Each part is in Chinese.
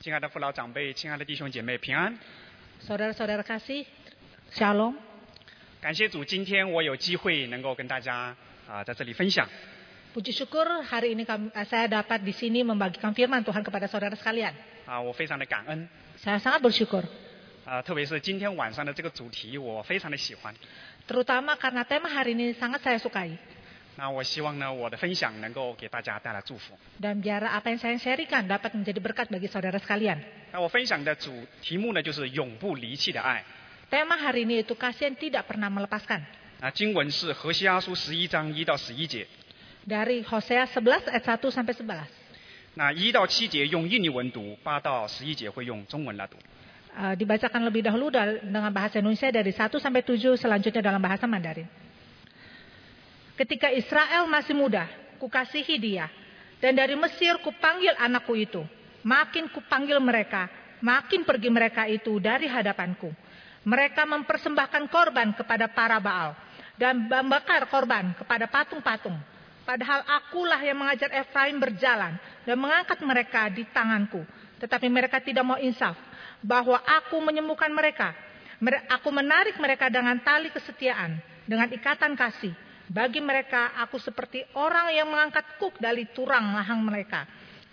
亲爱的父老长辈、亲爱的弟兄姐妹平安。 Saudara-saudara kasih, shalom. 感谢主，今天我有机会能够跟大家啊、在这里分享。 Puji syukur hari ini kami- eh, saya dapat di sini membagikan firman Tuhan kepada saudara sekalian. 啊、我非常的感恩。 Saya sangat bersyukur, 啊、特别是今天晚上的这个主题，我非常的喜欢。 terutama karena tema hari ini sangat saya sukai. 那我希望呢，我的分享能够给大家带来祝福。 Dan biar apa yang saya sharingkan dapat menjadi berkat bagi saudara sekalian. 那我分享的主题目呢，就是永不离弃的爱。 Tema hari ini itu kasih yang tidak pernah melepaskan. 啊，经文是何西阿书十一章一到十一节， Dari Hosea 11 ayat 1 sampai 11. 那一到七节用印尼文读，八到十一节会用中文来读。 Eh, dibacakan lebih dahulu dal- dengan bahasa Indonesia dari 1 sampai 7 selanjutnya dalam bahasa Mandarin. Ketika Israel masih muda, kukasihi dia. Dan dari Mesir kupanggil anakku itu. Makin kupanggil mereka, makin pergi mereka itu dari hadapanku. Mereka mempersembahkan korban kepada para Baal dan membakar korban kepada patung-patung. Padahal akulah yang mengajar Efraim berjalan dan mengangkat mereka di tanganku. Tetapi mereka tidak mau insaf bahwa aku menyembuhkan mereka. Mere- Aku menarik mereka dengan tali kesetiaan, dengan ikatan kasih. Bagi mereka, aku seperti orang yang mengangkat kuk dari turang lahang mereka.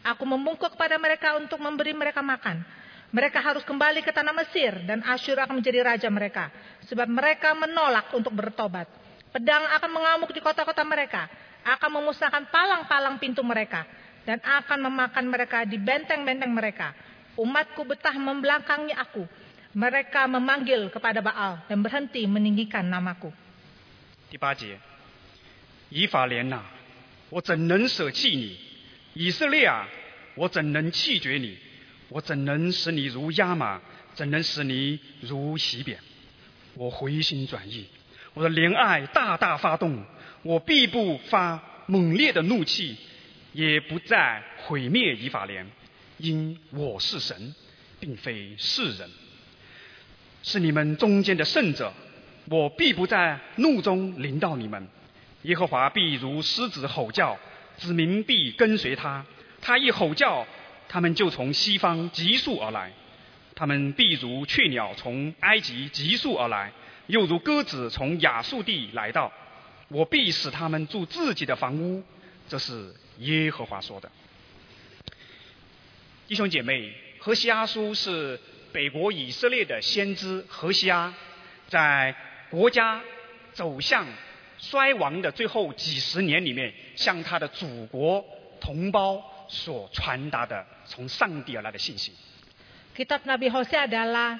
Aku membungkuk kepada mereka untuk memberi mereka makan. Mereka harus kembali ke tanah Mesir dan Asyur akan menjadi raja mereka. Sebab mereka menolak untuk bertobat. Pedang akan mengamuk di kota-kota mereka. Akan memusnahkan palang-palang pintu mereka. Dan akan memakan mereka di benteng-benteng mereka. Umatku betah membelakangi aku. Mereka memanggil kepada Baal dan berhenti meninggikan namaku. 第八节，以法莲呐、我怎能舍弃你？以色列啊，我怎能弃绝你？我怎能使你如亚玛？怎能使你如洗扁？我回心转意，我的怜爱大大发动，我必不发猛烈的怒气，也不再毁灭以法莲，因我是神，并非世人。是你们中间的圣者，我必不在怒中临到你们。耶和华必如狮子吼叫，子民必跟随他。他一吼叫，他们就从西方急速而来；他们必如雀鸟从埃及急速而来，又如鸽子从亚述地来到。我必使他们住自己的房屋，这是耶和华说的。弟兄姐妹，何西阿书是北国以色列的先知何西阿，在国家走向衰亡的最后几十年里面，向他的祖国同胞所传达的从上帝而来的信息。 Kitab Nabi Hosea adalah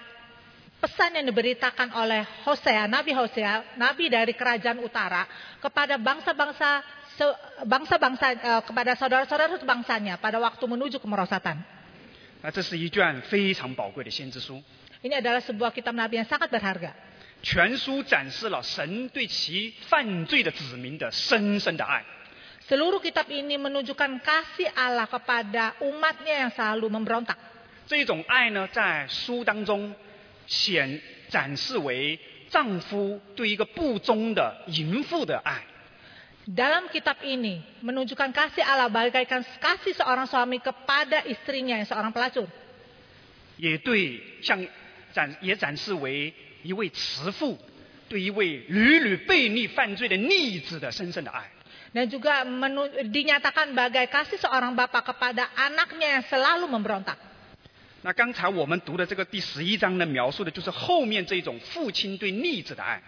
pesan yang diberitakan oleh Hosea, Nabi Hosea, nabi dari kerajaan utara kepada bangsa-bangsa se- bangsa-bangsa eh, kepada saudara-saudara sebangsanya pada waktu menuju kemerosatan. 那这是一卷非常宝贵的先知书， Ini adalah sebuah kitab nabi yang sangat berharga. 全书展示了神对其犯罪的子民的深深的爱。 Seluruh kitab ini menunjukkan kasih Allah kepada umatnya yang selalu memberontak. 这种爱呢，在书当中显展示为丈夫对一个不忠的淫妇的爱。 Dalam kitab ini menunjukkan kasih Allah bagaikan kasih seorang suami kepada istrinya yang seorang pelacur. 也对像展也展示为一位慈父对一位屡屡悖逆犯罪的逆子的深深的爱。 Dan juga menu- dinyatakan bagai kasih seorang bapak kepada anaknya yang selalu memberontak. 那刚才我们读的这个第十一章呢，描述的就是后面这种父亲对逆子的爱。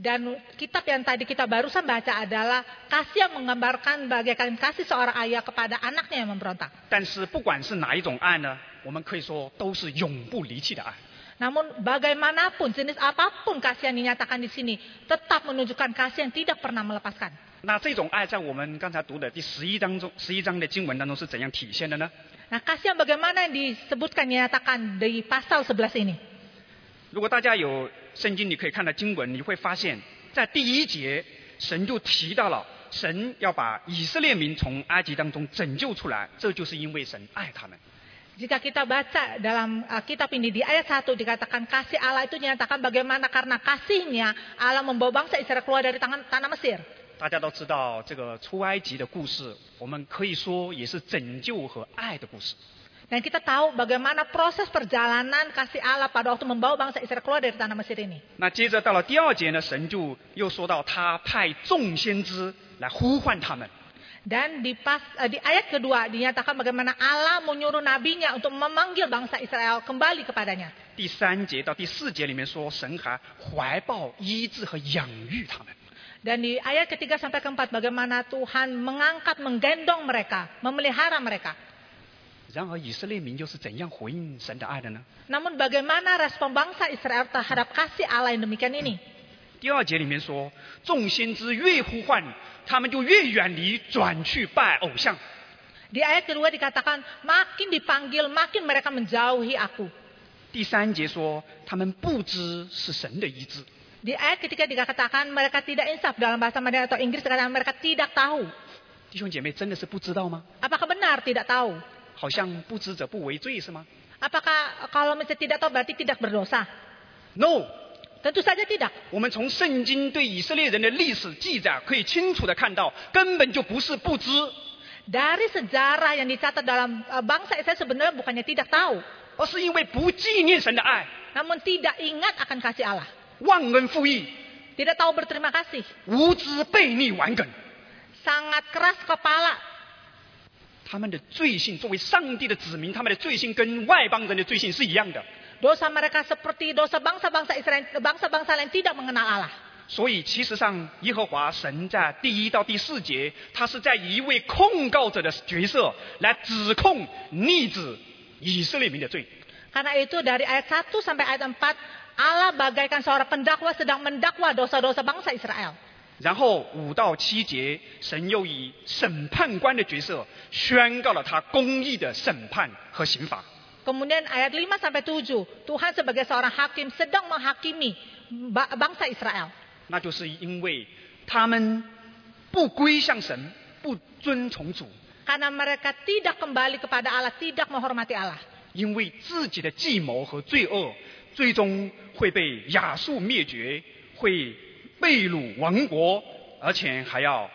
Dan kitab yang tadi kita barusan baca adalah kasih yang menggambarkan bagaikan kasih seorang ayah kepada anaknya yang memberontak. 但是不管是哪一种爱呢，我们可以说都是永不离弃的爱。 Namun bagaimanapun jenis apapun kasih yang dinyatakan di sini tetap menunjukkan kasih yang tidak pernah melepaskan. 那这种爱在我们刚才读的第十一章中，十一章的经文当中是怎样体现的呢？ Nah kasih yang bagaimana yang disebutkan dinyatakan di pasal 11 ini. 如果大家有圣经，你可以看到经文，你会发现在第一节，神就提到了神要把以色列民从埃及当中拯救出来，这就是因为神爱他们。 Jika kita baca dalam uh, kitab ini di ayat 1 dikatakan kasih Allah itu dinyatakan bagaimana karena kasihnya Allah membawa bangsa Israel keluar dari tangan tanah Mesir. 大家都知道这个出埃及的故事，我们可以说也是拯救和爱的故事。 Dan kita tahu bagaimana proses perjalanan kasih Allah pada waktu membawa bangsa Israel keluar dari tanah Mesir ini. 那接着到了第二节呢，神就又说到他派众先知来呼唤他们。 Dan di, pas, eh, di ayat kedua dinyatakan bagaimana Allah menyuruh nabinya untuk memanggil bangsa Israel kembali kepadanya. 第三节到第四节里面说，神还怀抱医治和养育他们。 Dan di ayat ketiga sampai keempat bagaimana Tuhan mengangkat, menggendong mereka, memelihara mereka. 然而以色列民又是怎样回应神的爱的呢？ Namun bagaimana respon bangsa Israel terhadap kasih Allah yang demikian ini? 第二节里面说，众先知越呼唤，他们就越远离，转去拜偶像。 Di ayat kedua dikatakan, makin dipanggil, makin mereka menjauhi aku. 第三节说，他们不知是神的医治。 Di ayat ketiga dikatakan, mereka tidak insaf dalam bahasa Mandarin atau Inggris, dikatakan mereka tidak tahu. 弟兄姐妹，真的是不知道吗？ Apakah benar tidak tahu? 好像不知者不为罪是吗 Apakah kalau misalnya tidak tahu berarti tidak berdosa? ？No， Tentu saja tidak. 我们从圣经对以色列人的历史记载可以清楚的看到，根本就不是不知， Dari sejarah yang dicatat dalam eh, bangsa Israel sebenarnya bukannya tidak tahu, 而是因为不纪念神的爱， namun tidak ingat akan kasih Allah. 忘恩负义， Tidak tahu berterima kasih. 无知悖逆顽梗。 Sangat keras kepala. 他们的罪性作为上帝的子民，他们的罪性跟外邦人的罪性是一样的。 Dosa mereka seperti dosa bangsa-bangsa Israel, bangsa-bangsa lain tidak mengenal Allah. 所以，其实上耶和华神在第一到第四节，他是在以一位控告者的角色来指控逆子以色列民的罪。 Karena itu dari ayat 1 sampai ayat 4 Allah bagaikan seorang pendakwa sedang mendakwa dosa-dosa bangsa Israel. 然后五到七节，神又以审判官的角色宣告了他公义的审判和刑罚。 Kemudian ayat 5 sampai 7, Tuhan sebagai seorang hakim sedang menghakimi ba- bangsa Israel. 那就是因为他们不归向神，不遵从主， Karena mereka tidak kembali kepada Allah, tidak menghormati Allah. 因为自己的计谋和罪恶，最终会被亚述灭绝，会被掳亡国，而且还要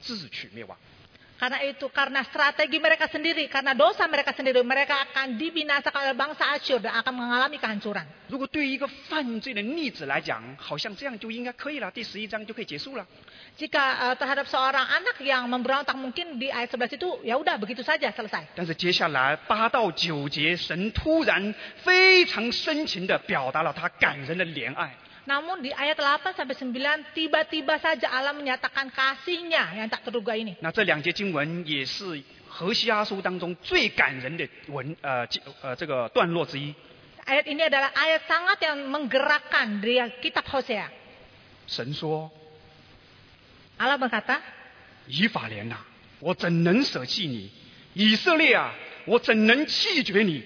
自取灭亡。 Karena itu, karena strategi mereka sendiri, karena dosa mereka sendiri, mereka akan dibinasakan oleh bangsa Asyur dan akan mengalami kehancuran. 如果对于一个犯罪的逆子来讲，好像这样就应该可以了，第十一章就可以结束了。 Jika eh, terhadap seorang anak yang memberontak mungkin di ayat 11 itu ya udah begitu saja selesai. 但是接下来八到九节，神突然非常深情地表达了他感人的怜爱。 Namun di ayat 8 sampai 9 tiba-tiba saja Allah menyatakan kasihnya yang tak terduga ini. 那这两节经文也是何西阿书当中最感人的文呃经呃这个段落之一。 Ayat ini adalah ayat sangat yang menggerakkan dari kitab Hosea. 神说 Allah berkata,：“ 以法莲呐、我怎能舍弃你？以色列啊，我怎能弃绝你？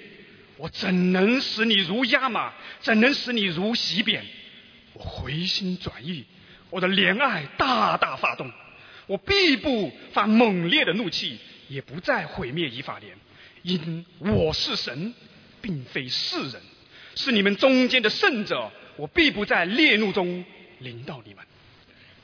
我怎能使你如亚玛？怎能使你如洗扁？我回心转意，我的怜爱大大发动，我必不发猛烈的怒气，也不再毁灭以法莲，因我是神，并非世人，是你们中间的圣者，我必不在烈怒中临到你们。”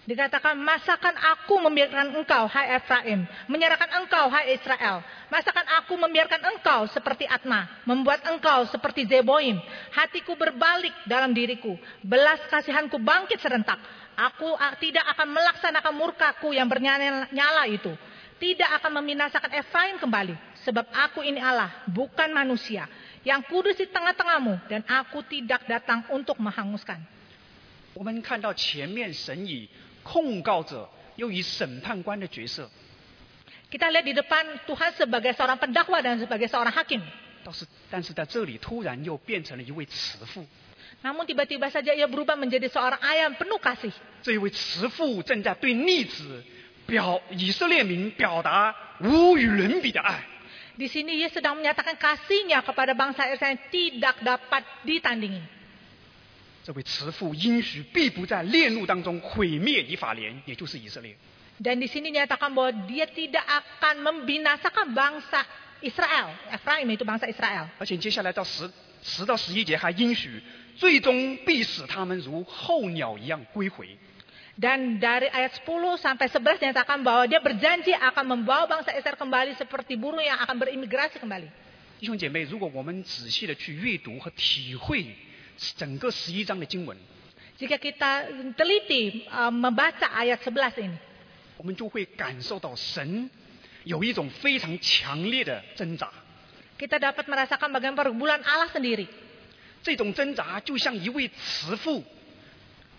dikatakan masakan aku membiarkan engkau hai Efraim, menyerahkan engkau hai Israel. Masakan aku membiarkan engkau seperti Atma, membuat engkau seperti Zeboim. Hatiku berbalik dalam diriku, belas kasihanku bangkit serentak. Aku ah, tidak akan melaksanakan murkaku yang bernyala itu. Tidak akan membinasakan Efraim kembali, sebab aku ini Allah, bukan manusia, yang kudus di tengah-tengahmu dan aku tidak datang untuk menghanguskan. 我们看到前面神以控告者又以审判官的角色， Kita lihat di depan Tuhan sebagai seorang pendakwa dan sebagai seorang hakim. 倒是但是在这里突然又变成了一位慈父。 Namun tiba-tiba saja ia berubah menjadi seorang ayam penuh kasih. 这一位慈父正在对逆子表以色列民表达无与伦比的爱。 Di sini ia sedang menyatakan kasihnya kepada bangsa Israel yang tidak dapat ditandingi. 这位慈父应许必不在烈怒当中毁灭以法莲，也就是以色列。 Dan di sini nyatakan bahwa dia tidak akan membinasakan bangsa Israel. Efraim itu bangsa Israel. 而且接下来到十十到十一节还应许，最终必使他们如候鸟一样归回。 Dan dari ayat 10 sampai 11 nyatakan bahwa dia berjanji akan membawa bangsa Israel kembali seperti burung yang akan berimigrasi kembali. 弟兄姐妹，如果我们仔细的去阅读和体会整个十一章的经文， Jika kita teliti eh, membaca ayat 11 ini, 我们就会感受到神有一种非常强烈的挣扎。 kita dapat merasakan bagaimana pergumulan Allah sendiri. 这种挣扎就像一位慈父，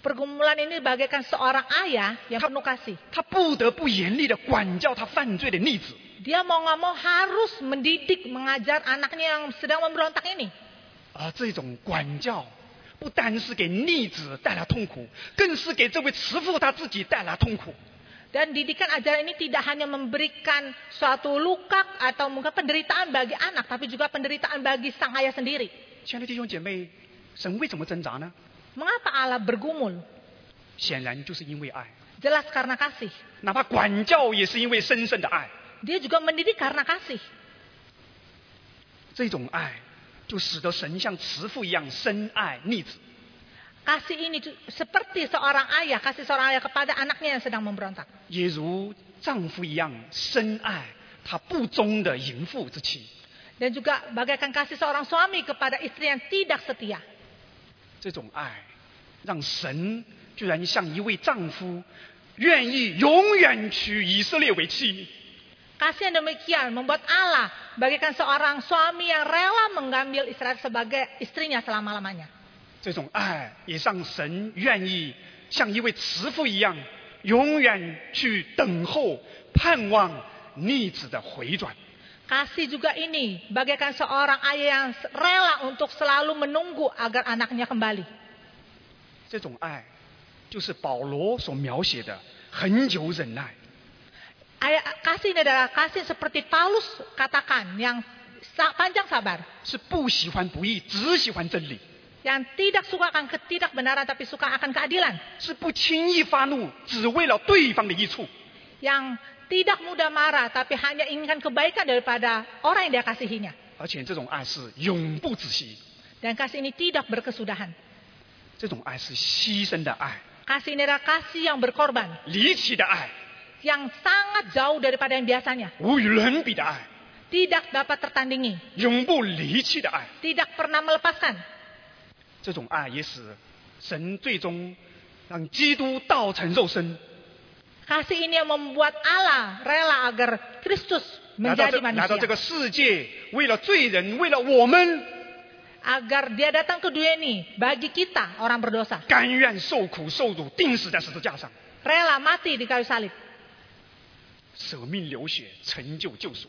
Pergumulan ini bagaikan seorang ayah yang penuh kasih. 他不得不严厉的管教他犯罪的逆子。 Dia mau nggak mau harus mendidik, mengajar anaknya yang sedang memberontak ini. 而这种管教不单是给逆子带来痛苦，更是给这位慈父他自己带来痛苦。 Dan didikan ajaran ini tidak hanya memberikan suatu luka atau mungkin penderitaan bagi anak, tapi juga penderitaan bagi sang ayah sendiri. 亲爱的弟兄姐妹，神为什么挣扎呢？ Mengapa Allah bergumul? 显然就是因为爱， Jelas karena kasih. 哪怕管教也是因为深深的爱。 Dia juga mendidik karena kasih. 这种爱就使得神像慈父一样深爱逆子。 Kasih ini tu- seperti seorang ayah, kasih seorang ayah kepada anaknya yang sedang memberontak. 也如丈夫一样深爱他不忠的淫妇之妻。 Dan juga bagaikan kasih seorang suami kepada istri yang tidak setia. 这种爱，让神居然像一位丈夫，愿意永远娶以色列为妻。 Kasih yang demikian membuat Allah bagaikan seorang suami yang rela mengambil Israel sebagai istrinya selama-lamanya. 这种爱也让神愿意像一位慈父一样，永远去等候、盼望逆子的回转。 Kasih juga ini bagaikan seorang ayah yang se- rela untuk selalu menunggu agar anaknya kembali. 这种爱，就是保罗所描写的恒久忍耐。 Ayah, kasih ini adalah kasih seperti Paulus katakan yang sa- panjang sabar. 是不喜欢不义，只喜欢真理； Yang tidak suka akan ketidakbenaran tapi suka akan keadilan. 是不轻易发怒，只为了对方的益处； Yang tidak mudah marah tapi hanya inginkan kebaikan daripada orang yang dia kasihinya. 而且这种爱是永不止息， Dan kasih ini tidak berkesudahan. 这种爱是牺牲的爱、 Kasih ini adalah kasih yang berkorban. 离奇的爱、 Yang sangat jauh daripada yang biasanya. 无与伦比的爱、 Tidak dapat tertandingi. 永不离弃的爱。 Tidak pernah melepaskan. 这种爱也使神最终让基督道成肉身， Kasih ini yang membuat Allah rela agar Kristus 来到 menjadi 这来到这个 manusia. 世界，为了罪人，为了我们， Agar dia datang ke dunia ini bagi kita orang berdosa. 甘愿受苦受辱，钉死在十字架上， Rela mati di kayu salib. 舍命流血，成就救赎。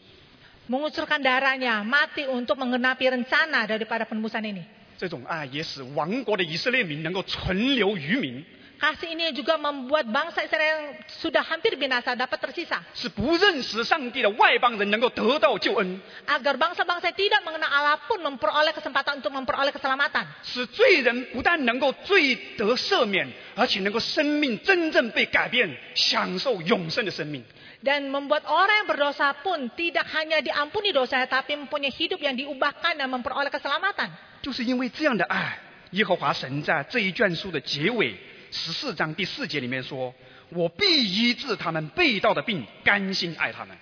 Mengucurkan darahnya mati untuk mengenapi rencana daripada penebusan ini. 这种爱也使亡国的以色列民能够存留余民， Kasih ini juga membuat bangsa Israel yang sudah hampir binasa dapat tersisa. 使不认识上帝的外邦人能够得到救恩， Agar bangsa-bangsa yang tidak mengenal Allah pun memperoleh kesempatan untuk memperoleh keselamatan. 使罪人不但能够罪得赦免，而且能够生命真正被改变，享受永生的生命。 Dan membuat orang yang berdosa pun tidak hanya diampuni dosanya tapi mempunyai hidup yang diubahkan dan memperoleh keselamatan. 就是因为这样的爱，耶和华神在这一卷书的结尾十四章第四节里面说：“我必医治他们被盗的病，甘心爱他们。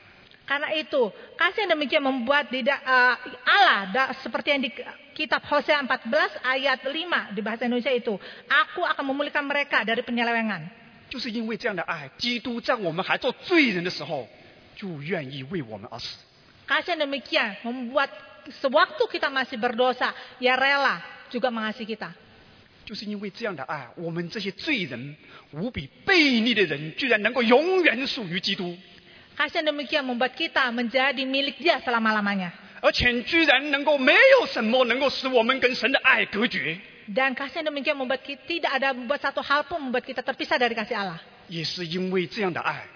Karena itu, kasih yang demikian membuat tidak eh, Allah da- seperti yang di kitab Hosea 14 ayat 5 di bahasa Indonesia itu, aku akan memulihkan mereka dari penyelewengan. ”就是因为这样的爱，基督在我们还做罪人的时候，就愿意为我们而死。 Kasih yang demikian membuat sewaktu kita masih berdosa, ya rela juga mengasihi kita. 就是因为这样的爱，我们这些罪人、无比悖逆的人，居然能够永远属于基督， Kasih yang demikian membuat kita menjadi milik dia selama-lamanya. 而且居然能够没有什么能够使我们跟神的爱隔绝， Dan kasih yang demikian membuat kita, tidak ada membuat satu hal pun membuat kita terpisah dari kasih Allah. 也是因为这样的爱，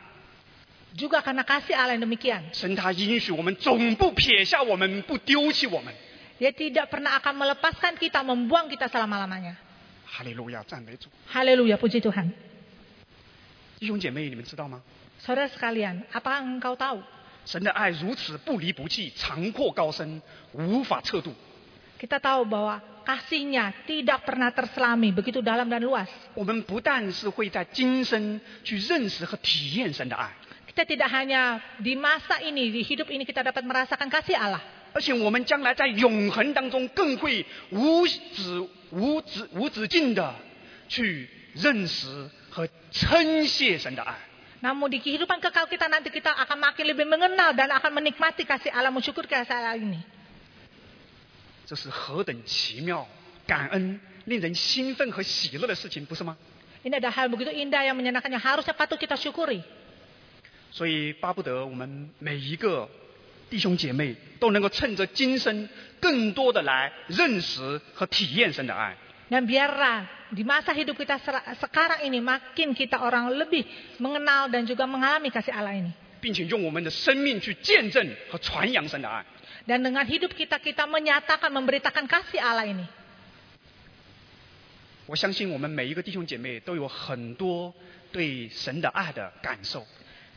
Juga karena kasih Allah yang demikian. 神他应许我们总不撇下我们，不丢弃我们。 Dia tidak pernah akan melepaskan kita, membuang kita selama-lamanya. 哈利路亚，赞美主！ Haleluya, puji Tuhan. 弟兄姐妹，你们知道吗？ Saudara sekalian, apakah engkau tahu? 神的爱如此不离不弃，长阔高深，无法测度。 Kita tahu bahwa kasihnya tidak pernah terselami, begitu dalam dan luas. 我们不但是会在今生去认识和体验神的爱， Kita tidak hanya di masa ini, di hidup ini kita dapat merasakan kasih Allah. 而且我们将来在永恒当中更会无止无止无止境的去认识和称谢神的爱。 Namun di kehidupan kekal kita nanti kita akan makin lebih mengenal dan akan menikmati kasih Allah, mensyukur kasih Allah ini. 这是何等奇妙、感恩、令人兴奋和喜乐的事情，不是吗？ Ini ada hal begitu indah yang menyenangkan yang harusnya patut kita syukuri. 所以巴不得我们每一个弟兄姐妹都能够趁着今生，更多的来认识和体验神的爱。 Dan biarlah di masa hidup kita sera- sekarang ini makin kita orang lebih mengenal dan juga mengalami kasih Allah ini. 并且用我们的生命去见证和传扬神的爱。 Dan dengan hidup kita kita menyatakan memberitakan kasih Allah ini. 我相信我们每一个弟兄姐妹都有很多对神的爱的感受，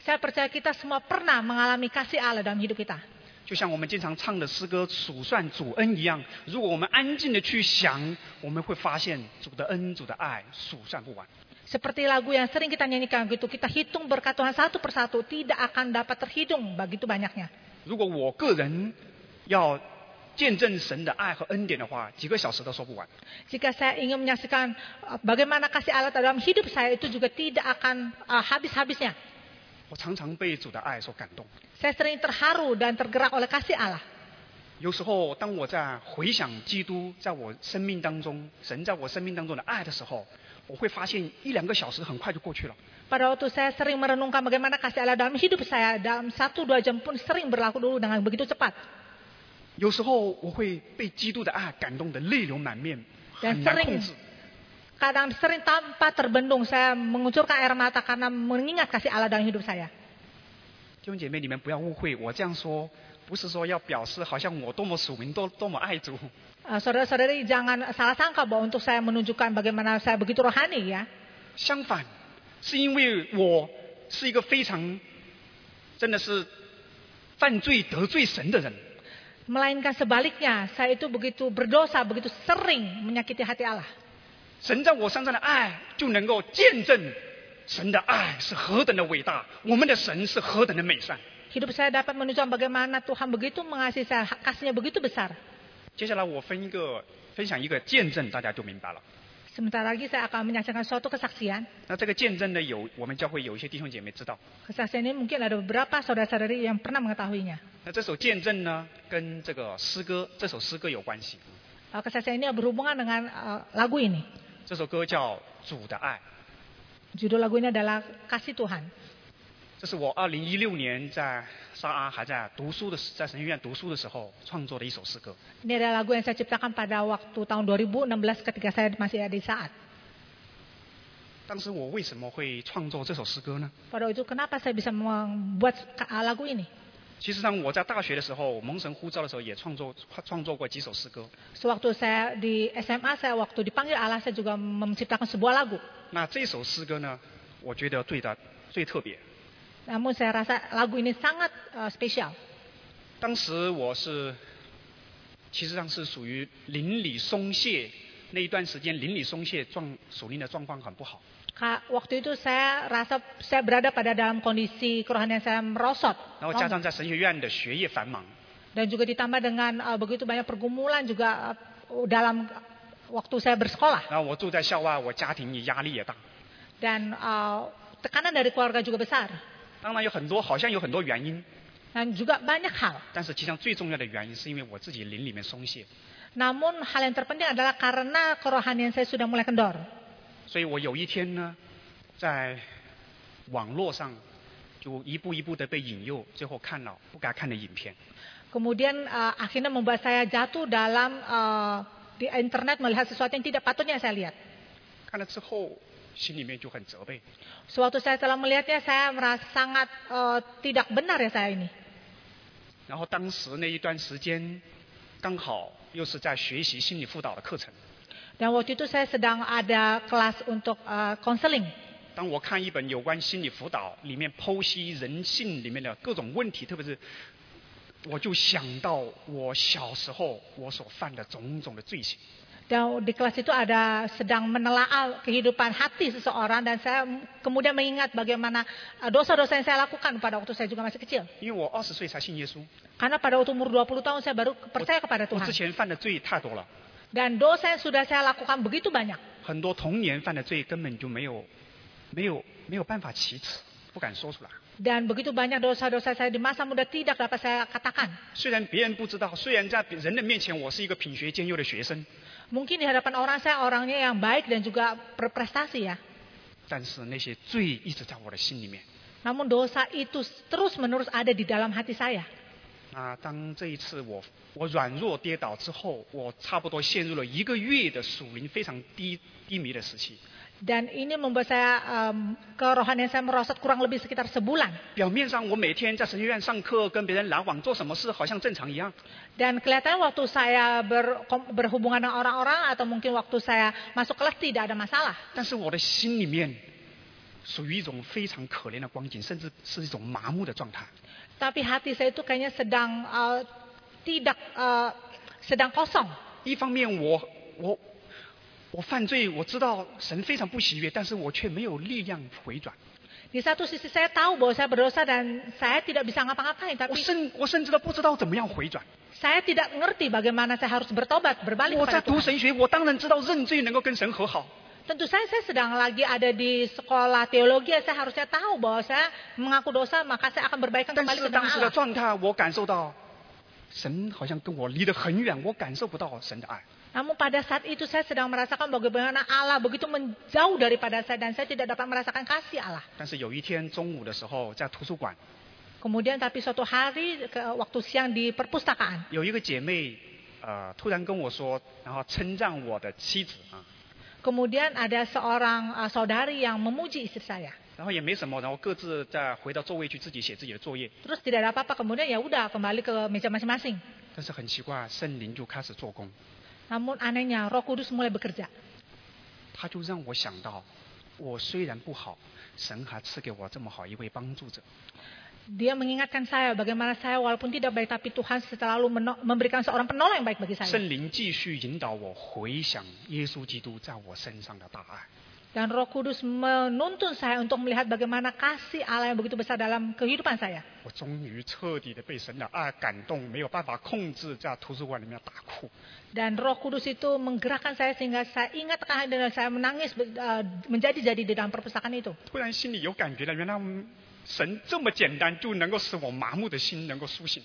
Saya percaya kita semua pernah mengalami kasih Allah dalam hidup kita. 就像我们经常唱的诗歌《数算主恩》一样。如果我们安静的去想，我们会发现主的恩、主的爱数算不完。 Seperti lagu yang sering kita nyanyikan gitu, kita hitung berkat Tuhan satu persatu tidak akan dapat terhitung begitu banyaknya. 如果我个人要见证神的爱和恩典的话，几个小时都说不完。 Jika saya ingin menyaksikan eh, bagaimana kasih Allah dalam hidup saya itu juga tidak akan eh, habis-habisnya. 我常常被主的爱所感动。 Saya sering terharu dan tergerak oleh kasih Allah. 有时候，当我在回想基督在我生命当中、神在我生命当中的爱的时候，我会发现一两个小时很快就过去了。 Pada waktu saya sering merenungkan bagaimana kasih Allah dalam hidup saya, dalam satu dua jam pun sering berlaku dulu dengan begitu cepat. 有时候我会被基督的爱感动得泪流满面，很难控制。 Kadang sering tanpa terbendung saya mengucurkan air mata karena mengingat kasih Allah dalam hidup saya. 弟兄姐妹，你们不要误会，我这样说不是说要表示好像我多么属灵、多多么爱主， Eh, Saudara-saudari jangan salah sangka bahwa untuk saya menunjukkan bagaimana saya begitu rohani ya. 相反，是因为我是一个非常真的是犯罪得罪神的人。 Melainkan sebaliknya, saya itu begitu berdosa, begitu sering menyakiti hati Allah. 神在我身上的爱，就能够见证神的爱是何等的伟大，我们的神是何等的美善。 Hidup saya dapat menunjukkan bagaimana Tuhan begitu mengasihi saya, kasihnya begitu besar. 接下来我分一个分享一个见证，大家就明白了。 Sebentar lagi saya akan menyaksikan suatu kesaksian. 那这个见证呢，有我们教会有一些弟兄姐妹知道。 Kesaksian ini mungkin ada beberapa saudara-saudari yang pernah mengetahuinya. 那这首见证呢，跟这个诗歌这首诗歌有关系。 Eh, Kesaksian ini berhubungan dengan eh, lagu ini. 这首歌叫《主的爱》， Judul lagu ini adalah Kasih Tuhan. 这是我二零一六年在沙阿还在读书的时在神学院读书的时候创作的一首诗歌。 Ini adalah lagu yang saya ciptakan pada waktu tahun 2016 ketika saya masih ada di saat. 当时我为什么会创作这首诗歌呢？ Pada waktu itu kenapa saya bisa membuat eh, lagu ini? 其实上，我在大学的时候蒙神呼召的时候，也创作创作过几首诗歌。 Sewaktu saya di SMA, saya waktu dipanggil Allah, saya juga menciptakan sebuah lagu. 那这首诗歌呢，我觉得最的最特别。 Namun saya rasa lagu ini sangat eh, spesial. 当时我是，其实上是属于邻里松懈那一段时间，邻里松懈状属灵的状况很不好。 Ka- waktu itu saya rasa saya berada pada dalam kondisi kerohanian saya merosot. 然后加上在神学院的学业繁忙， Dan juga ditambah dengan eh, begitu banyak pergumulan juga eh, dalam waktu saya bersekolah. 然后我住在校外，啊我家庭也压力也大。 Dan eh, tekanan dari keluarga juga besar. 当然有很多，好像有很多原因， Dan juga banyak hal. 但是其实上最重要的原因是因为我自己灵里面松懈， Namun hal yang terpenting adalah karena kerohanian saya sudah mulai kendor. 所以我有一天呢，在网络上就一步一步的被引诱，最后看了不该看的影片。 Kemudian eh, akhirnya membuat saya jatuh dalam eh, di internet melihat sesuatu yang tidak patutnya saya lihat. 看了之后，心里面就很责备， Sewaktu saya telah melihatnya saya merasa sangat eh, tidak benar ya saya ini. 然后当时那一段时间，刚好又是在学习心理辅导的课程。 Dan waktu itu saya sedang ada kelas untuk eh, konseling. 当我看一本有关心理辅导里面剖析人性里面的各种问题，特别是，我就想到我小时候我所犯的种种的罪行。 Dan di kelas itu ada sedang menelaah kehidupan hati seseorang dan saya kemudian mengingat bagaimana eh, dosa-dosa yang saya lakukan pada waktu saya juga masih kecil. 因为我二十岁才信耶稣， Karena pada waktu umur 20 tahun saya baru percaya kepada 我之 Tuhan. 前犯的罪太多了， Dan dosa yang sudah saya lakukan begitu banyak. 很多童年犯的罪根本就没有，没有没有办法启齿，不敢说出来。 Dan begitu banyak dosa-dosa saya di masa muda tidak dapat saya katakan. 虽然别人不知道，虽然在人的面前我是一个品学兼优的学生， Mungkin di hadapan orang saya orangnya yang baik dan juga berprestasi ya. 但是那些罪一直在我的心里面。 Namun dosa itu terus menerus ada di dalam hati saya. 啊，当这一次我我软弱跌倒之后，我差不多陷入了一个月的属灵非常低低迷的时期。 Dan ini membuat saya em, kerohanian saya merosot kurang lebih sekitar sebulan. 表面上我每天在神学院上课，跟别人来往，做什么事好像正常一样。 Dan kelihatan waktu saya berkom- berhubungan dengan orang-orang atau mungkin waktu saya masuk kelas tidak ada masalah. 但是我的心里面属于一种非常可怜的光景，甚至是一种麻木的状态。 Tapi hati saya itu kayaknya sedang eh, tidak eh, sedang kosong. 一方面我我我犯罪，我知道神非常不喜悦，但是我却没有力量回转。 Di satu sisi saya tahu bahwa saya berdosa dan saya tidak bisa 我 ngapa-ngapain, tapi 甚我甚至都不知道怎么样回转。 saya tidak ngerti bagaimana saya harus bertobat, berbalik 我在 kepada 读 Tuhan. 神学，我当然知道认罪能够跟神和好， Tentu saya saya sedang lagi ada di sekolah teologi, saya harusnya tahu bahwa saya mengaku dosa, maka saya akan berbaikan 但 kembali 是 ke tanah 当时的 Allah. 状态，我感受到神好像跟我离得很远，我感受不到神的爱。 Namun pada saat itu saya sedang merasakan bagaimana Allah begitu menjauh daripada saya dan saya tidak dapat merasakan kasih Allah. 但是有一天中午的时候，在图书馆 Kemudian tapi suatu hari ke waktu siang di perpustakaan 有一个姐妹，呃，突然跟我说，然后称赞我的妻子啊， Kemudian ada seorang eh, saudari yang memuji istri saya. 然后也没什么，然后各自再回到座位去自己写自己的作业。 Terus tidak ada apa-apa, kemudian ya udah kembali ke meja masing-masing. 但是很奇怪，圣灵就开始做工， Namun anehnya Roh Kudus mulai bekerja. 他就让我想到，我虽然不好，神还赐给我这么好一位帮助者。 Dia mengingatkan saya bagaimana saya walaupun tidak baik tapi Tuhan selalu meno- memberikan seorang penolong yang baik bagi saya. 圣灵继续引导我回想耶稣基督在我身上的大爱。 Dan Roh Kudus menuntun saya untuk melihat bagaimana kasih Allah yang begitu besar dalam kehidupan saya. 我终于彻底的被神的爱感动，没有办法控制，在图书馆里面大哭。 Dan Roh Kudus itu menggerakkan saya sehingga saya ingat keadaan dan saya menangis be- eh, menjadi-jadi di dalam perpustakaan itu. 突然心里有感觉了，原来嗯神这么简单就能够使我麻木的心能够苏醒。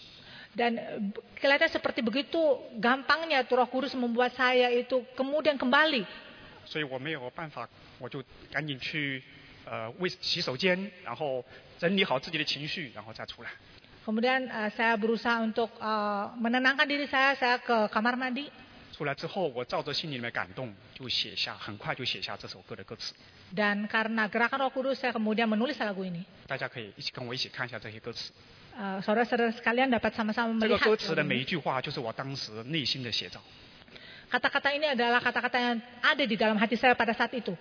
Dan eh, b- kelihatan seperti begitu gampangnya itu Roh Kudus membuat saya itu kemudian kembali. 所以我没有办法，我就赶紧去呃卫洗手间，然后整理好自己的情绪，然后再出来。 Kemudian eh, saya berusaha untuk eh, menenangkan diri saya, saya ke kamar mandi. 出来之后，我照着心里面的感动，就写下，很快就写下这首歌的歌词。 Dan karena gerakan Roh Kudus saya kemudian menulis lagu ini. 大家可以一起跟我一起看一下这些歌词。 Eh, Saudara-saudara sekalian dapat sama-sama 这个 melihat. 歌词的 lagu 每 ini. 一句话，就是我当时内心的写照。 Kata-kata ini adalah kata-kata yang ada di dalam hati saya pada saat itu.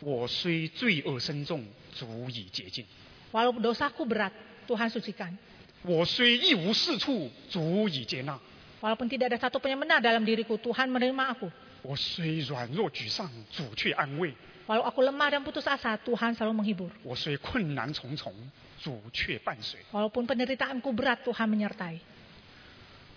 我虽罪恶深重，足以洁净； Walau dosaku berat, Tuhan sucikan. 我虽一无是处，足以接纳； Walaupun tidak ada satu pun yang benar dalam diriku, Tuhan menerima aku. 我虽软弱沮丧，主却安慰； Walau aku lemah dan putus asa, Tuhan selalu menghibur. 我虽困难重重，主却伴随。 Walaupun penderitaanku berat, Tuhan menyertai.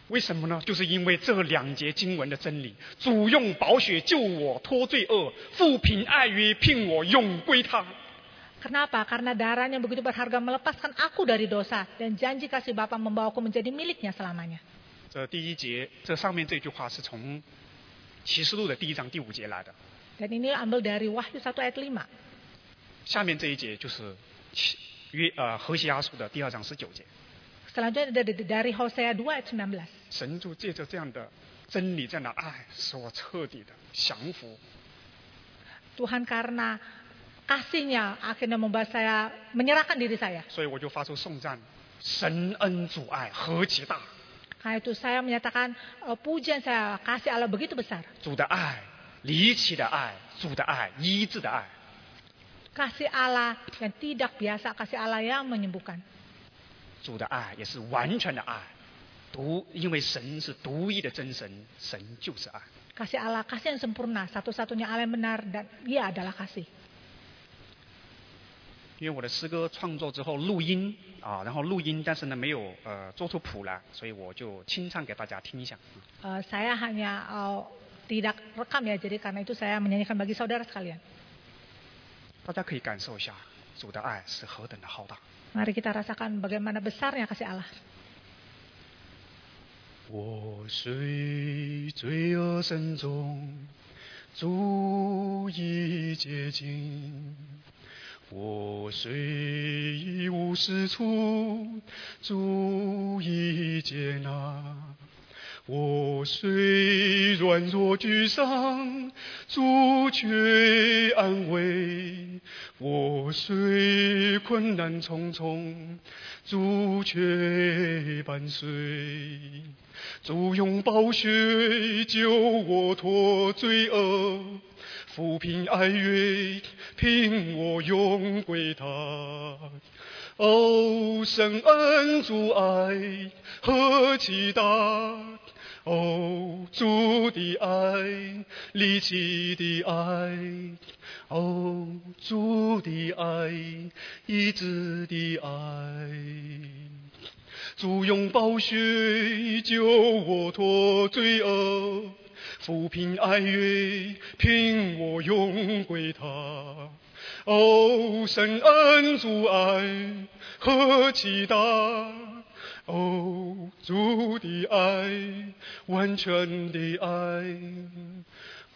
为什么呢？就是因为这两节经文的真理：主用宝血救我脱罪恶，父凭爱约聘我永归他。 Kenapa? Karena darahnya begitu berharga melepaskan aku dari dosa dan janji kasih Bapa membawaku menjadi miliknya selamanya. 这第一节，这上面这句话是从启示录的第一章第五节来的， Dan ini ambil dari Wahyu 1 ayat 5. 下面这一节就是启约呃何西阿书的第二章十九节。 Selanjutnya dari, dari Hosea 2 ayat 19. 神就借着这样的真理、这样的爱，使我彻底的降服。 Tuhan karena kasihnya akhirnya membuat saya menyerahkan diri saya. 所以我就发出颂赞：神恩主爱何其大！ Karena itu saya menyatakan eh, pujian saya kasih Allah begitu besar. 主的爱，离奇的爱，主的爱，医治的爱。 Kasih Allah yang tidak biasa, kasih Allah yang menyembuhkan. 主的爱也是完全的爱，独，因为神是独一的真神，神就是爱。 Kasih Allah, kasih yang sempurna, satu-satunya Allah yang benar dan Dia adalah kasih. 因为我的诗歌创作之后录音啊，然后录音，但是呢没有呃做出谱来，所以我就清唱给大家听一下。 Eh, saya hanya eh, tidak rekam ya, jadi karena itu saya menyanyikan bagi saudara sekalian. 大家可以感受一下主的爱是何等的浩大。 Mari kita rasakan bagaimana besarnya kasih Allah. 我虽罪恶深重，足以接近；我虽一无是处，足以接纳；我虽软弱沮丧，主却安慰；我虽困难重重，主却伴随，主用宝血救我脱罪恶，抚平哀乐，凭我永归他。哦，神恩主爱何其大！哦，主的爱，离奇的爱，哦，主的爱，医治的爱。主用宝血救我脱罪恶，抚平哀乐，凭我永归他。哦，神恩主爱何其大！哦，主的爱，完全的爱。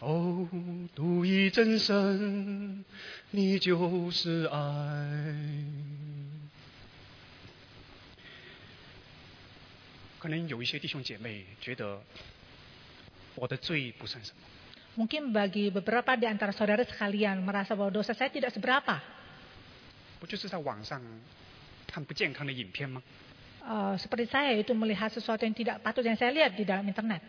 哦，独一真神，你就是爱。可能有一些弟兄姐妹觉得我的罪不算什么， Mungkin bagi beberapa di antara saudara sekalian merasa bahwa dosa saya tidak seberapa. 不就是在网上看不健康的影片吗？ Eh, seperti saya itu melihat sesuatu yang tidak patut yang saya lihat di dalam internet.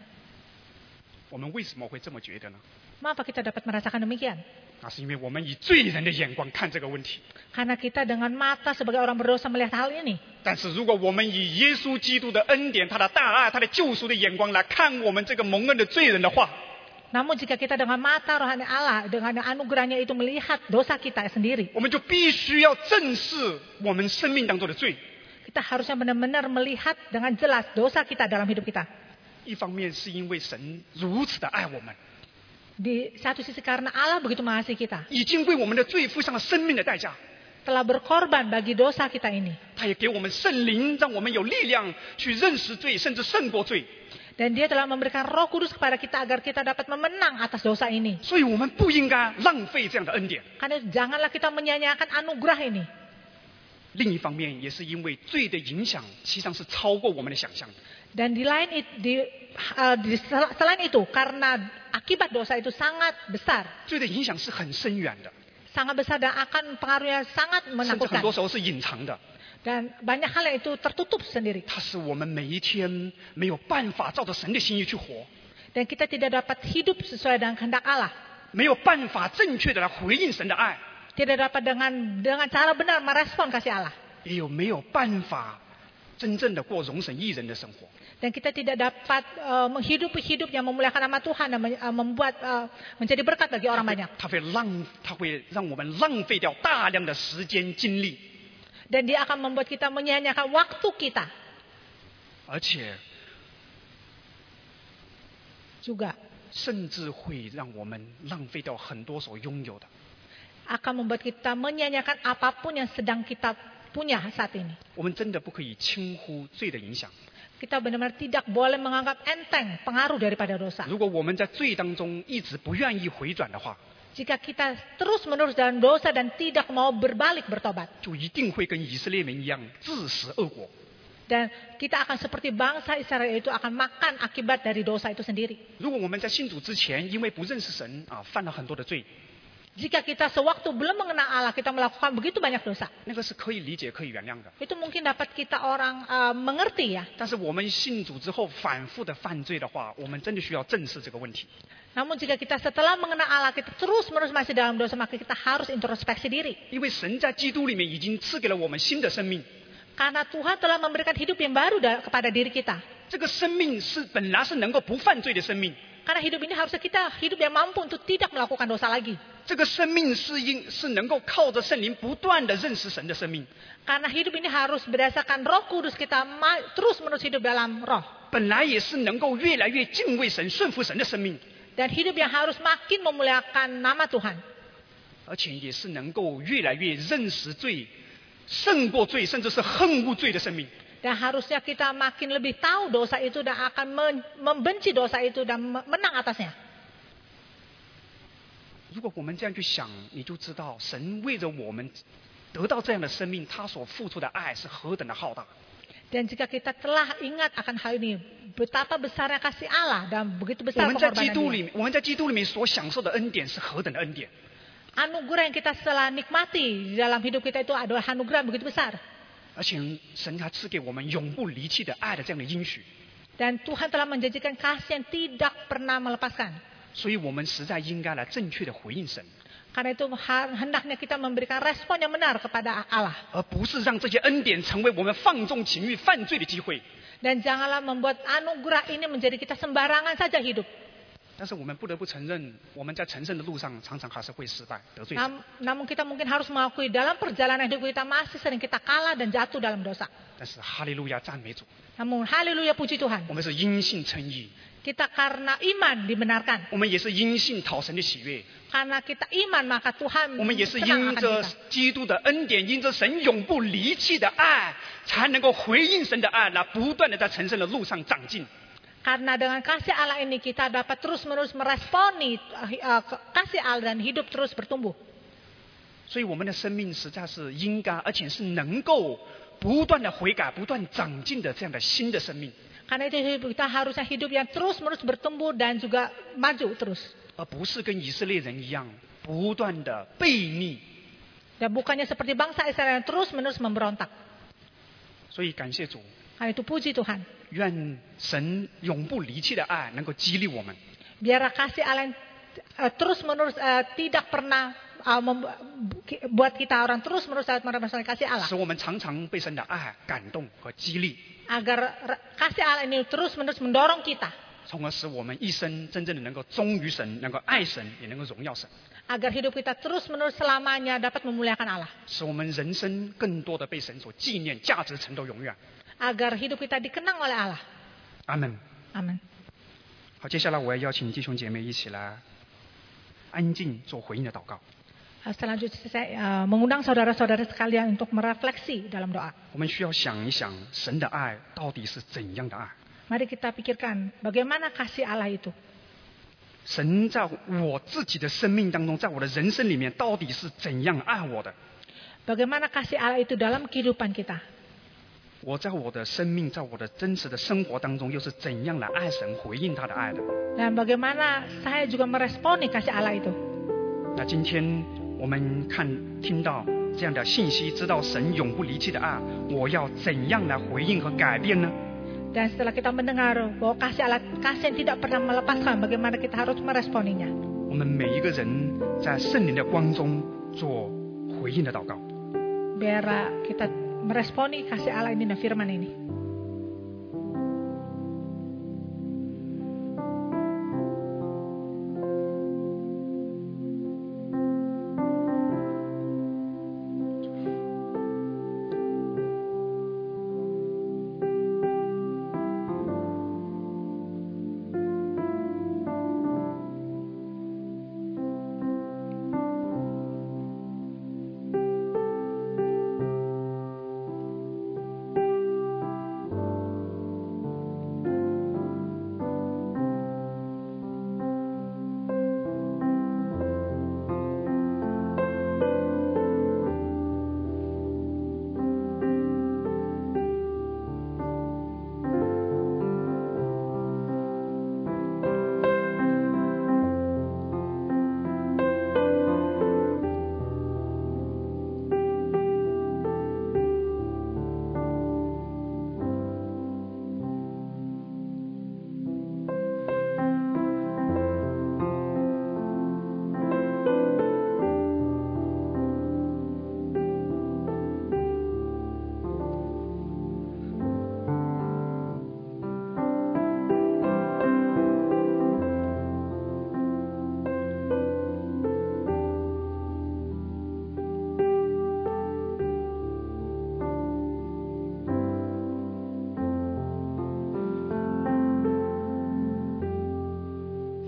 我们为什么会这么觉得呢？ Mengapa kita dapat merasakan demikian? 那是因为我们以罪人的眼光看这个问题。 Karena kita dengan mata sebagai orang berdosa melihat hal ini. 但是如果我们以耶稣基督的恩典、他的大爱、他的救赎的眼光来看我们这个蒙恩的罪人的话， Namun jika kita dengan mata rohani Allah, dengan anugerahnya itu melihat dosa kita sendiri, 我们就必须要正视我们生命当中的罪。 kita harusnya benar-benar melihat dengan jelas dosa kita dalam hidup kita. 一方面是因为神如此的爱我们， Di satu sisi karena Allah begitu mengasihi kita, 已经为我们的罪付上了生命的代价。 telah berkorban bagi dosa kita ini. 他也给我们圣灵，让我们有力量去认识罪，甚至胜过罪。 Dan dia telah memberikan roh kudus kepada kita agar kita dapat memenang atas dosa ini. 所以我们不应该浪费这样的恩典。 Karena janganlah kita menyanyiakan anugerah ini. 另一方面，也是因为罪的影响，实际上是超过我们的想象的。 Dan di lain it- di, eh, di sel- selain itu karena akibat dosa itu sangat besar, 罪的影响是很深远的， sangat besar dan akan pengaruhnya sangat 甚至很多 menakutkan 时候是隐藏的。 dan banyak hal yang itu tertutup sendiri 它使我们每一天没有办法照着神的心意去活， dan kita tidak dapat hidup sesuai dengan kehendak Allah 没有办法正确的来回应神的爱， tidak dapat dengan dengan cara benar merespon kasih Allah 也有没有办法真正的过容神一人的生活。 dan kita tidak dapat eh, menghidupi hidup yang memuliakan nama Tuhan dan men- eh, membuat eh, menjadi berkat bagi orang banyak 它会浪，它会让我们浪费掉大量的时间精力。 dan dia akan membuat kita menyia-nyiakan waktu kita 而且 juga 甚至会让我们浪费掉很多所拥有的。 akan membuat kita menyia-nyiakan apapun yang sedang kita punya saat ini 我们真的不可以轻忽罪的影响。 kita benar-benar tidak boleh menganggap enteng pengaruh daripada dosa 如果我们在罪当中一直不愿意回转的话， Jika kita terus-menerus dalam dosa dan tidak mau berbalik bertobat. 就一定会跟以色列民一样自食恶果。 Dan kita akan seperti bangsa Israel itu akan makan akibat dari dosa itu sendiri. 如果我们在信主之前，因为不认识神啊，犯了很多的罪， Jika kita sewaktu belum mengenal Allah, kita melakukan begitu banyak dosa. 那个是可以理解、可以原谅的。 Itu mungkin dapat kita orang eh, mengerti ya. 但是我们信主之后反复的犯罪的话，我们真的需要正视这个问题。 Namun jika kita setelah mengenal Allah, kita terus-menerus masih dalam dosa, maka kita harus introspeksi diri. 因为神在基督里面已经赐给了我们新的生命， Karena Tuhan telah memberikan hidup yang baru da- kepada diri kita. 这个生命是本来是能够不犯罪的生命， Karena hidup ini harusnya kita hidup yang mampu untuk tidak melakukan dosa lagi. 这个生命是因是能够靠着圣灵不断的认识神的生命。 Karena hidup ini harus berdasarkan roh kudus kita ma- terus menerus hidup dalam roh. 本来也是能够越来越敬畏神、顺服神的生命， Dan hidup yang harus makin memuliakan nama Tuhan. 而且也是能够越来越认识罪、胜过罪，甚至是恨恶罪的生命。 Dan harusnya kita makin lebih tahu dosa itu dan akan men- membenci dosa itu dan me- menang atasnya. 如果我们这样去想，你就知道神为着我们得到这样的生命，他所付出的爱是何等的浩大。 Dan jika kita telah ingat akan hal ini, betapa besarnya kasih Allah dan begitu 我 besar 们在基 pengorbanan 督 Dia. 里面，我们在基督里面所享受的恩典是何等的恩典。 Anugerah yang kita telah nikmati di dalam hidup kita itu adalah anugerah yang begitu besar. 而且神他赐给我们永不离弃的爱的这样的应许， Dan Tuhan telah menjanjikan kasih yang tidak pernah melepaskan. 所以我们实在应该来正确的回应神， Karena itu ha- hendaknya kita memberikan respon yang benar kepada Allah. 而不是让这些恩典成为我们放纵情欲、犯罪的机会。 Dan janganlah membuat anugerah ini menjadi kita sembarangan saja hidup. 但是我们不得不承认，我们在成圣的路上常常还是会失败、得罪神。 Nam- namun kita mungkin harus mengakui dalam perjalanan hidup kita masih sering kita kalah dan jatuh dalam dosa. 但是哈利路亚，赞美主， Namun haleluya puji Tuhan. 我们是因信称义， Kita karena iman dibenarkan. 我们也是因信讨神的喜悦， Karena kita iman maka Tuhan 我们也是 senang 因 akan 着 kita. 基督的恩典，因着神永不离弃的爱，才能够回应神的爱，来不断的在成圣的路上长进。 Karena dengan kasih Allah ini kita dapat terus-menerus meresponi eh, eh, ke- kasih Allah dan hidup terus bertumbuh. 所以我们的生命实在是应该，而且是能够不断的悔改、不断长进的这样的新的生命， Karena itu hidup kita harusnya hidup yang terus-menerus bertumbuh dan juga maju terus. 而不是跟以色列人一样不断的悖逆。 Dan bukannya seperti bangsa Israel yang terus-menerus memberontak. 所以感谢主， Karena itu puji Tuhan. 愿神永不离弃的爱能够激励我们， Biar kasih Allah yang eh, terus-menerus eh, tidak pernah eh, mem- ki- buat kita orang terus-menerus dapat merasakan kasih Allah. 使我们常常被神的爱感动和激励， Agar re- kasih Allah ini terus-menerus mendorong kita. 从而使我们一生真正的能够忠于神，能够爱神，也能够荣耀神， Agar hidup kita terus-menerus selamanya dapat memuliakan Allah. 使我们人生更多的被神所纪念、价值成到永远。 Agar hidup kita dikenang oleh Allah. 阿门。 Amin. 好，接下来我要邀请弟兄姐妹一起来安静做回应的祷告。 Eh, Selanjutnya saya eh, mengundang saudara-saudara sekalian untuk merefleksi dalam doa. 我们需要想一想，神的爱到底是怎样的爱？ Mari kita pikirkan bagaimana kasih Allah itu. 神在我自己的生命当中，在我的人生里面，到底是怎样爱我的？ Bagaimana kasih Allah itu dalam kehidupan kita. 我在我的生命，在我的真实的生活当中，又是怎样来爱神、回应他的爱的？ Dan bagaimana saya juga meresponi kasih Allah itu. 那今天我们看听到这样的信息，知道神永不离弃的爱，我要怎样来回应和改变呢？ Dan setelah kita mendengar bahwa kasih Allah kasih yang tidak pernah melepaskan. Bagaimana kita harus meresponinya. 我们每一个人在圣灵的光中做回应的祷告。 Biar uh, kita meresponi kasih Allah ini dan firman ini.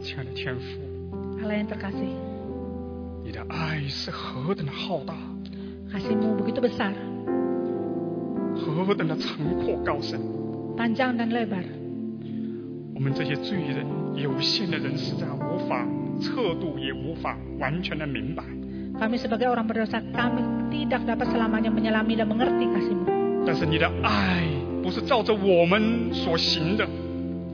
亲爱的天父， Allah yang terkasih, 你的爱是何等的浩大， kasihmu begitu besar, 何等的长阔高深。 panjang dan lebar. 我们这些罪人、有限的人，实在无法测度，也无法完全的明白。 Kami sebagai orang berdosa, kami tidak dapat selamanya menyelami dan mengerti kasihmu. 但是你的爱不是照着我们所行的，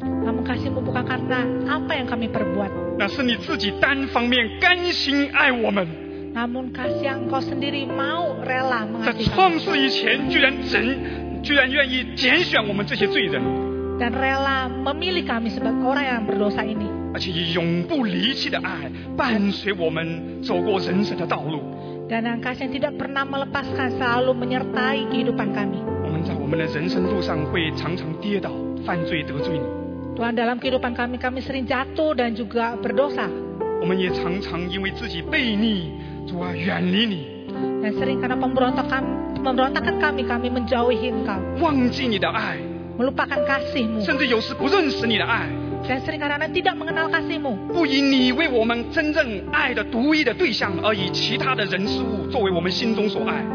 Namun kasihmu bukan karena apa yang kami perbuat, 那是你自己单方面甘心爱我们， namun kasih yang engkau sendiri mau rela 在 mengasihi 创 kami 世以前居然整，居然愿意拣选我们这些罪人， dan rela memilih kami sebagai orang yang berdosa ini. 而且以永不离弃的爱伴随我们走过人生的道路。 Dan yang kasih yang tidak pernah melepaskan selalu menyertai kehidupan kami. 我们在我们的人生路上会常常跌倒、犯罪、得罪你。 Tuhan dalam kehidupan kami, kami sering jatuh dan juga berdosa. 我们也常常因为自己悖逆，主啊，远离你， Dan sering karena pemberontakan, pemberontakan kami, kami menjauhi engkau. 忘记你的爱， Melupakan kasihmu. 甚至有时不认识你的爱， Dan sering karena tidak mengenal kasihmu. 不以你为我们真正爱的独一的对象，而以其他的人事物作为我们心中所爱。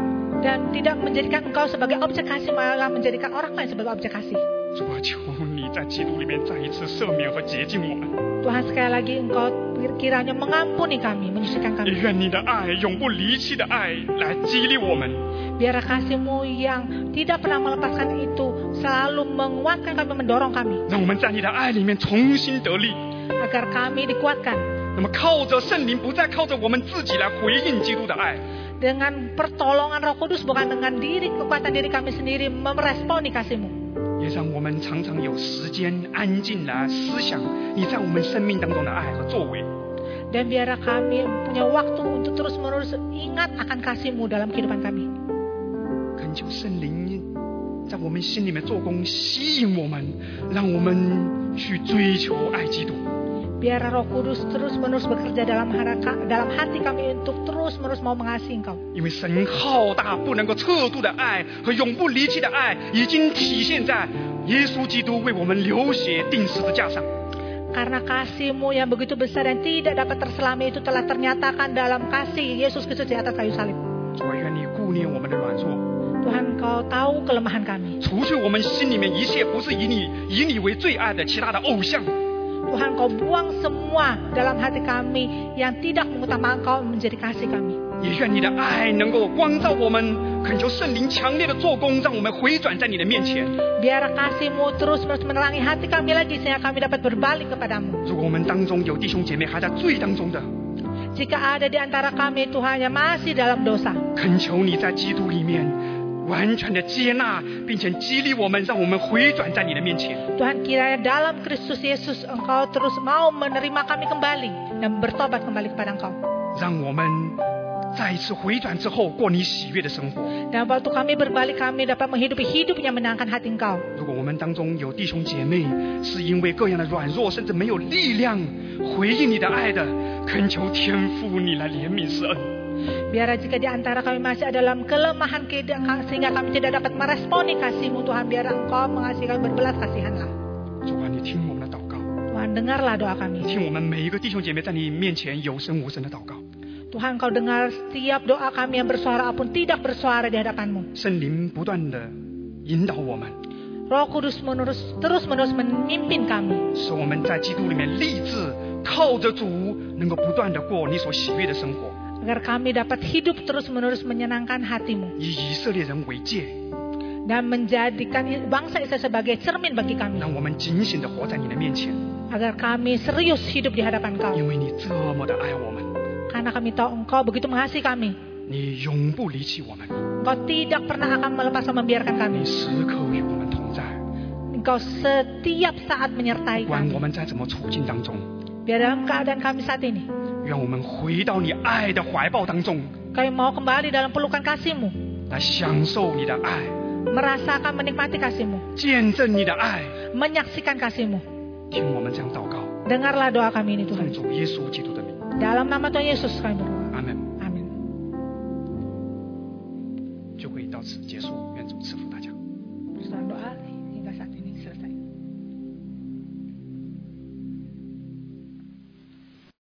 Dan tidak menjadikan engkau sebagai objek kasih, malah menjadikan orang lain sebagai objek kasih. 主啊，求你在基督里面再一次赦免和洁净我们， Tuhan sekali lagi engkau kiranya mengampuni kami, menyucikan 也 kami. 愿你的爱永不离弃的爱来激励我们， Biar kasihmu yang tidak pernah melepaskan itu selalu menguatkan kami, mendorong kami. 让我们在你的爱里面重新得力。 Agar kami dikuatkan 那么靠着圣灵，不再靠着我们自己来回应基督的爱， dengan pertolongan roh kudus, bukan dengan diri kekuatan diri kami sendiri meresponi kasihmu. 也让我们常常有时间安静来思想你在我们生命当中的爱和作为。 Dan biar kami punya waktu untuk terus menerus ingat akan kasihmu dalam kehidupan kami. 恳求圣灵在我们心里面做工，吸引我们，让我们去追求爱基督。 Biar roh kudus terus menerus bekerja dalam, haraka, dalam hati kami untuk terus menerus mau mengasihi engkau. 因为神浩大不能够测度的爱和永不离弃的爱，已经体现在耶稣基督为我们流血钉十字架上。 Karena kasihmu yang begitu besar dan tidak dapat terselami itu telah ternyatakan dalam kasih Yesus Kristus di atas kayu salib. 主啊，愿你顾念我们的软弱， Tuhan kau tahu kelemahan kami. 除去我们心里面一切不是以你以你为最爱的其他的偶像。 Tuhan kau buang semua dalam hati kami yang tidak mengutamakan kau menjadi kasih kami. 也愿你的爱能够光照我们，恳求圣灵强烈的做工，让我们回转在你的面前。 Biar kasihmu terus menerus menerangi hati kami lagi sehingga kami dapat berbalik kepadamu. 如果我们当中有弟兄姐妹还在罪当中的， Jika ada di antara kami Tuhan yang masih dalam dosa. 恳求你在基督里面完全的接纳，并且激励我们，让我们回转在你的面前。 Tuhan kiranya dalam Kristus Yesus engkau terus mau menerima kami kembali dan bertobat kembali kepada engkau. 让我们再一次回转之后过你喜悦的生活。 Dan waktu kami berbalik kami dapat menghidupi hidup yang menyenangkan hati engkau. 如果我们当中有弟兄姐妹是因为各样的软弱，甚至没有力量回应你的爱的，恳求天父你来怜悯施恩。 Biar jika di antara kami masih ada dalam kelemahan kehidupan sehingga kami tidak dapat meresponi kasihmu Tuhan biar engkau mengasihi kami berbelas kasihanlah. 主啊，你听我们的祷告， Tuhan dengarlah doa 你 kami. 听我们每一个弟兄姐妹在你面前有声无声的祷告。 Tuhan kau dengar setiap doa kami yang bersuara apun tidak bersuara di hadapanmu. 圣灵不断的引导我们， Roh Kudus menerus, terus menerus memimpin kami. 使我们在基督里面立志，靠着主能够不断的过你所喜悦的生活， Agar kami dapat hidup terus menerus menyenangkan hatimu. 以以色列人为戒， Dan menjadikan bangsa Israel sebagai cermin bagi kami. 让我们警醒的活在你的面前， Agar kami serius hidup di hadapan kau. 因为你这么的爱我们， Karena kami tahu engkau begitu mengasihi kami. 你永不离弃我们， Engkau tidak pernah akan melepas dan membiarkan kami. 你时刻与我们同在， Engkau setiap saat 不 menyertai 管 kami. 我们在怎么处境当中， Biar dalam keadaan kami saat ini, 愿我们回到你爱的怀抱当中， kami mau kembali dalam pelukan kasihmu. 来享受你的爱， Merasakan menikmati kasihmu. 见证你的爱。 Menyaksikan kasihmu. 听我们这样祷告， Dengarlah doa kami ini 奉 Tuhan. 主耶稣基督的名， Dalam nama Tuhan Yesus kami berdoa. 阿门。 Amin. 就会到此结束，愿主赐福大家。